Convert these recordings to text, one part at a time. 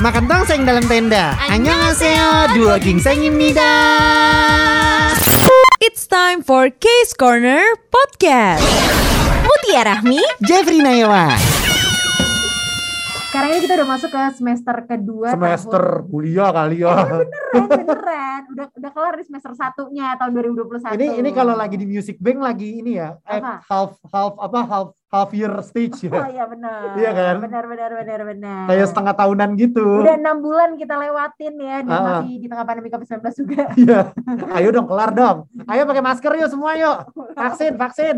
마kan tongseng 다른 텐다. 안녕하세요. 두어 깅생입니다. It's time for Case Corner Podcast. Mutia Rahmi, 제프리 나요와. Sekarang ini kita udah masuk ke semester kedua semester tahun- kuliah kali ya. Oh, Beneran, beneran. Udah udah kelar di semester satunya tahun 2021. ini ini kalau lagi di Music Bank lagi ini ya, eh, Apa? half half apa half half year stage Oh ya. iya benar. Iya kan? Benar benar benar benar. Kayak setengah tahunan gitu. Udah enam bulan kita lewatin ya dan Ah. masih di tengah pandemi COVID-19 juga. Iya. Ayo dong kelar dong. Ayo pakai masker yuk semua yuk. Vaksin, vaksin.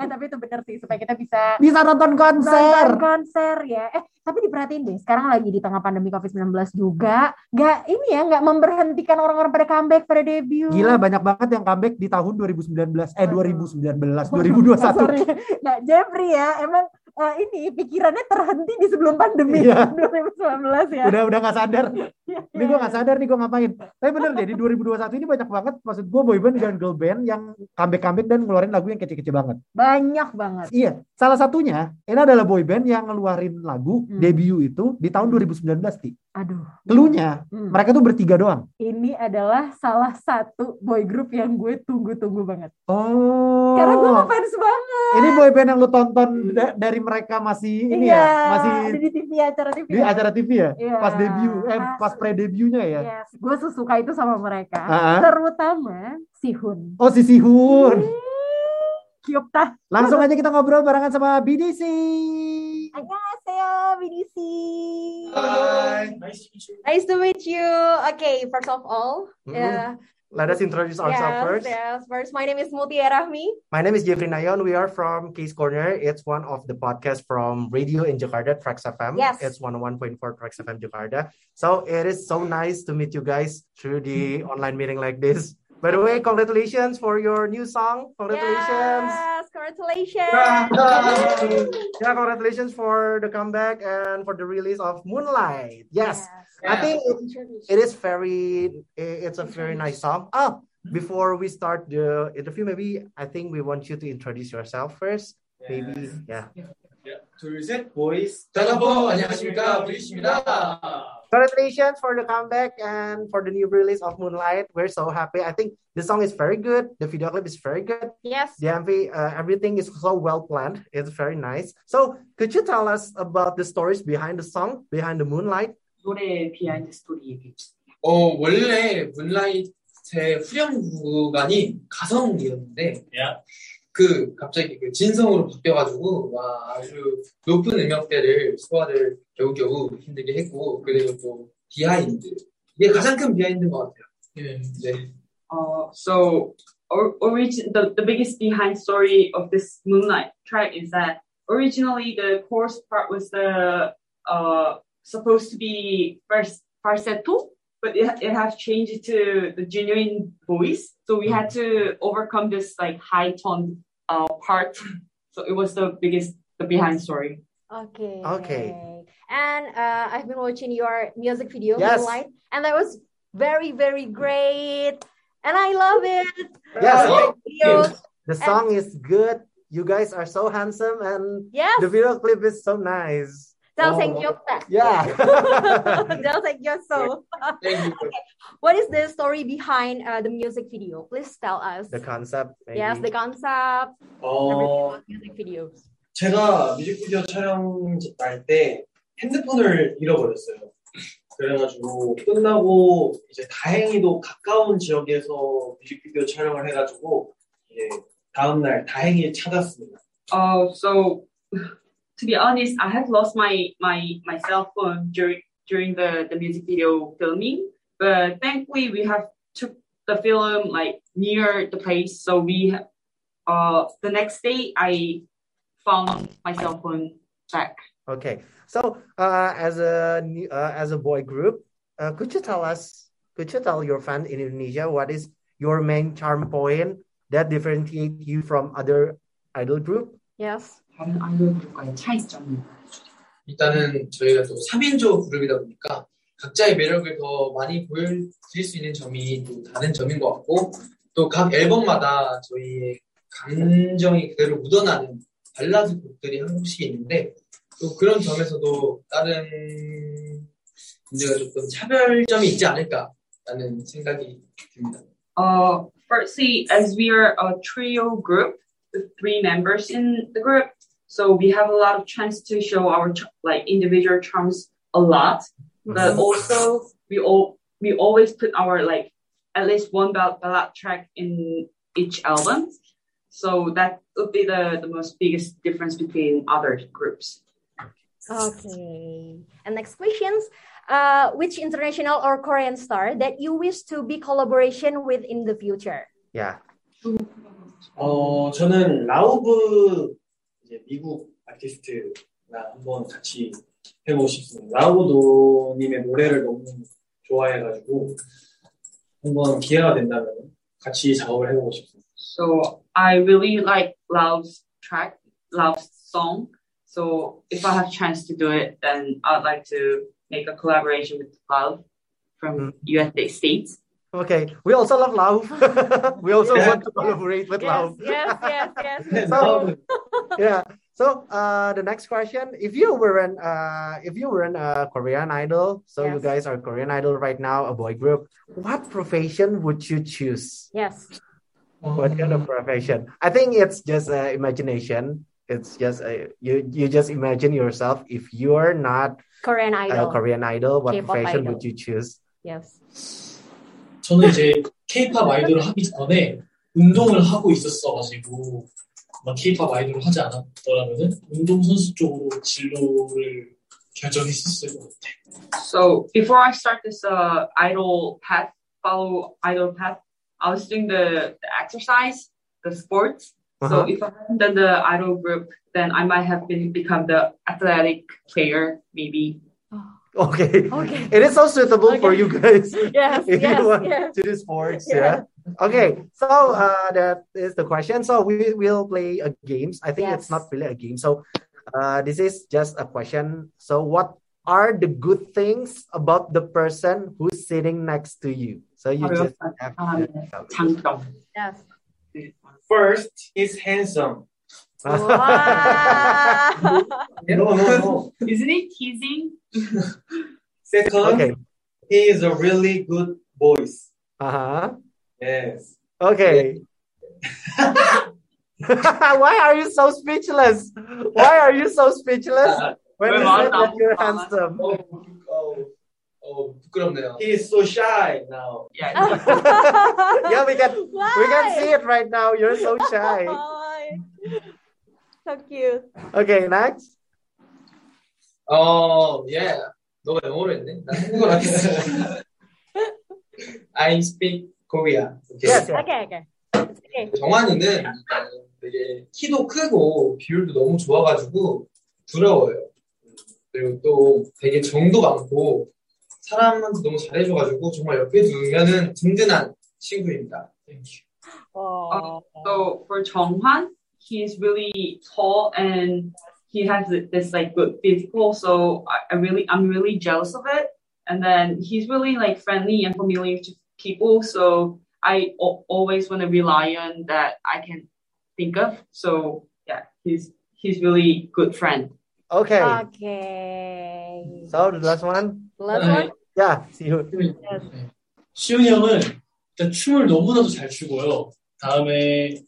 Eh, tapi itu benar sih supaya kita bisa Bisa nonton nonton konser. konser ya. Eh, tapi diperhatiin deh, sekarang lagi di tengah pandemi COVID-19 juga, nggak ini ya, nggak memberhentikan orang-orang pada comeback, pada debut. Gila banyak banget yang comeback di tahun 2019 eh Waduh. 2019 2021. Sorry. Nah, Jeffrey ya, emang eh, ini pikirannya terhenti di sebelum pandemi Iya. 2019 ya. Udah udah nggak sadar. Ini gue nggak sadar nih gue ngapain. Tapi bener deh di 2021 ini banyak banget maksud gue boyband dan girl band yang comeback-comeback dan ngeluarin lagu yang kece-kece banget. Banyak banget. Iya, salah satunya ini adalah boyband yang ngeluarin lagu Hmm. debut itu di tahun 2019 ti. Aduh. Keluhnya Hmm. mereka tuh bertiga doang. Ini adalah salah satu boy group yang gue tunggu-tunggu banget. Oh. Karena gue ngefans banget. ini boyband yang lu tonton da- dari mereka masih ini Iya, ya, masih ada di TV acara TV. di ya? acara TV ya, Iya. pas debut, eh pas pre debutnya ya. Yes. Gue sesuka itu sama mereka. Ah, ah. Terutama si Hun. Oh si Sihun. Kyopta. Langsung aja kita ngobrol barengan sama BDC. Annyeonghaseyo, BDC. Hi. Nice to meet you. Okay, first of all, Iya. yeah, Let us introduce ourselves yes, Mm-hmm. first. yes, first, my name is Mutia Rahmi. My name is Jeffrey Nayon. We are from Case Corner. It's one of the podcasts from radio in Jakarta, Trax FM. Yes. It's 101.4 Trax FM Jakarta. So it is so nice to meet you guys through the online meeting like this. By the way, congratulations for your new song. Congratulations. Yes, congratulations. Yeah, congratulations for the comeback and for the release of Moonlight. Yes. I think it is very it's a very nice song. Oh, before we start the interview, maybe I think we want you to introduce yourself first. Maybe yeah. 예, 둘셋 보이스 달라보 안녕하십니까 브리시입니다 Congratulations for the comeback and for the new release of Moonlight. We're so happy. I think the song is very good. The video clip is very good. Yes. The MV, uh, everything is so well planned. It's very nice. So, could you tell us about the stories behind the song, behind the Moonlight? 노래 비하인드 스토리 얘기해 주세요. 어 원래 문라이트의 후렴 구간이 가성이었는데 그 갑자기 그 진성으로 바뀌어가지고 와 아주 높은 음역대를 소화를 겨우겨우 힘들게 했고 그리고 또 비하인드 이게 가장 큰 비하인드인 것 같아요. 예, 네. 어, so or, origin the, the biggest behind story of this Moonlight track is that originally the chorus part was the uh supposed to be first falsetto, but it, it has changed to the genuine voice. So we had to overcome this like high tone uh part. So it was the biggest the behind story. Okay. Okay. And uh, I've been watching your music video, Yes. Moonlight, and that was very, very great. And I love it. Yes, Your videos. the song is good. You guys are so handsome, and Yes. the video clip is so nice. Delseng Oh, Kyopta. Yeah. Delseng Yoso. Thank you. What is the story behind uh, the music video? Please tell us. the concept. Maybe. yes, the concept, Oh. everything 어, about music videos. 제가 뮤직비디오 촬영 날 때 핸드폰을 잃어버렸어요. 그래가지고 끝나고 이제 다행히도 가까운 지역에서 뮤직비디오 촬영을 해가지고 이제 다음날 다행히 찾았습니다. Oh, so to be honest, I have lost my my my cell phone during during the the music video filming, but thankfully we have took the film like near the place, so we ha- uh the next day I found my cell phone back. Okay. So, uh, as a new- uh, as a boy group, uh, could you tell us? Could you tell your fan in Indonesia what is your main charm point that differentiate you from other idol group? Yes. 다른 아이돌 그룹과의 차이점은 일단은 저희가 또 3인조 그룹이다 보니까 각자의 매력을 더 많이 보여드릴 수 있는 점이 또 다른 점인 것 같고 또 각 앨범마다 저희의 감정이 그대로 묻어나는 발라드 곡들이 한 곡씩 있는데 또 그런 점에서도 다른 문제가 조금 차별점이 있지 않을까라는 생각이 듭니다. Uh, firstly, as we are a trio group with three members in the group, so we have a lot of chance to show our ch- like individual charms a lot. But also, we all we always put our like at least one ball- ballad track in each album. So that would be the, the most biggest difference between other groups. Okay. And next questions. Uh, which international or Korean star that you wish to be collaboration with in the future? Yeah. 어, 저는 라우브 이제 미국 아티스트랑 한번 같이 해보고 싶습니다. 라우브도님의 노래를 너무 좋아해가지고 한번 기회가 된다면 같이 작업을 해보고 싶습니다. So I really like Love's track, Love's song. So if I have chance to do it, then I'd like to make a collaboration with Love from United States. Okay. We also love love. we also Yeah. want to collaborate with love. yes, yes, yes. 네, So, yeah. So uh, the next question: If you weren't, uh, if you weren't a Korean idol, so you Yes. guys are Korean idol right now, a boy group. What profession would you choose? yes. What kind of profession? I think it's just uh, imagination. It's just uh, you. You just imagine yourself. If you're not Korean a idol. Korean idol, what K-pop profession idol. would you choose? Yes. 저는 이제 케이팝 아이돌을 하기 전에 운동을 하고 있었어가지고 막 케이팝 아이돌을 하지 않았더라면 운동선수 쪽으로 진로를 결정했었을 것 같아요. So before I start this uh, idol path, follow idol path, I was doing the, the exercise, the sports. So Uh-huh. if I hadn't done the idol group, then I might have been become the athletic player, maybe. Okay. Okay. It is so suitable for you guys. Yes, if yes, you want yes. to do sports. Yeah. Yeah. Okay. So uh, that is the question. So we will play a games. I think it's Yes. not really a game. So uh, this is just a question. So what are the good things about the person who's sitting next to you? So you just have Um, 장점. Yes. First is handsome. Wow. 네. No, no, no. Isn't it teasing? Second, okay. he is a really good voice. Uh-huh. Yes. Okay. Why are you so speechless? Why are you so speechless? Uh, When you Well, said I'm- that you're I'm- handsome. 아, 어, 어, 어, 부끄럽네요. He is so shy now. Yeah. yeah, we can we can see it right now. You're so shy. Why? So cute. Okay, next. 어, 예. 너가 영어로 했네. 나 한국어로 하겠어. I speak Korea. 오케이. Yes. yes. Okay, okay. 정환이는 일단 되게 키도 크고 비율도 너무 좋아가지고 부러워요. 그리고 또 되게 정도 많고 사람한테 너무 잘해줘가지고 정말 옆에 두면은 든든한 친구입니다. Thank Oh. So for Chonghwan, he is really tall and he has this like good physical. So I, I really, I'm really jealous of it. And then he's really like friendly and familiar to people. So I al- always want to rely on that I can think of. So yeah, he's he's really good friend. Okay. Uh, Okay. so the last one. Last one. Yeah. See you. 네. 시훈이 형은 일단 춤을 너무나도 잘 추고요. 다음에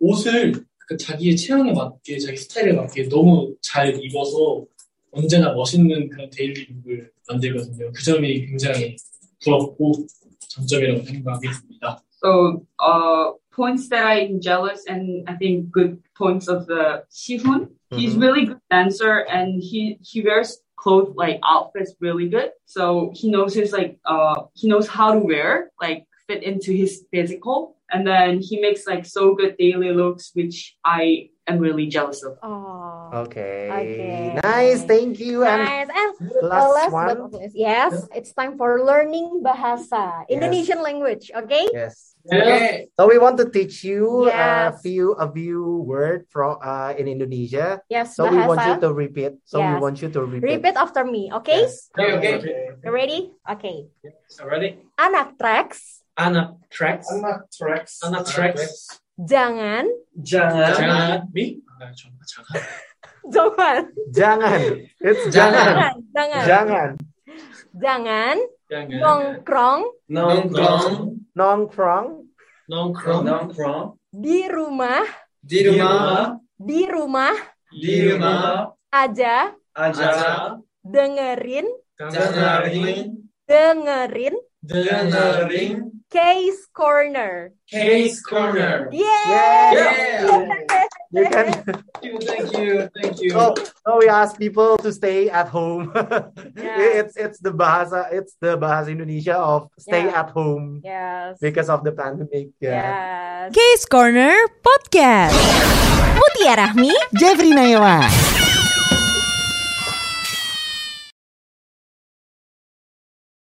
옷을 그 자기의 체형에 맞게, 자기 스타일에 맞게 너무 잘 입어서 언제나 멋있는 그런 데일리 룩을 만들거든요. 그 점이 굉장히 부럽고 장점이라고 생각이 듭니다. So uh, points that I'm jealous and I think good points of the Sihun. He's Mm-hmm. really good dancer and he he wears clothes like outfits really good. So he knows his like uh he knows how to wear like fit into his physical and then he makes like so good daily looks which I am really jealous of. Oh. Okay. Okay. Nice. Thank Uh, you. And Nice. And the last last one. but not least. Yes, it's time for learning bahasa, Indonesian language. Okay. yes. you. 네. So we want to teach you a Yes. few a few word from uh, in Indonesia. Yes, So we want you to bahasa. repeat. So we Yes. want you to repeat. Repeat after me. Okay. 네, 오케이, 오케이. 네. You ready? Okay. Already? Anak tracks, Anna tracks. Anak tracks. Anna tracks. jangan 장아. 장아. 미? 아, 정말 장아. Jangan. Jangan. It's Jangan. jangan. Jangan. Jangan. Jangan. 네, Nongkrong Nongkrong, Nongkrong nongkrong, nongkrong, di rumah. di rumah, Di rumah di rumah, aja. aja, Dengerin. dengerin, Dengerin. dengerin, Case Corner. Case Corner. Yeay. Yeah. You can. Thank you, thank you. So, so we ask people to stay at home. It's it's the bahasa it's the bahasa Indonesia of stay Yeah. at home Yes. because of the pandemic. Yeah. Yes. Case Corner Podcast. Mutia Rahmi Jeffrey Nayawa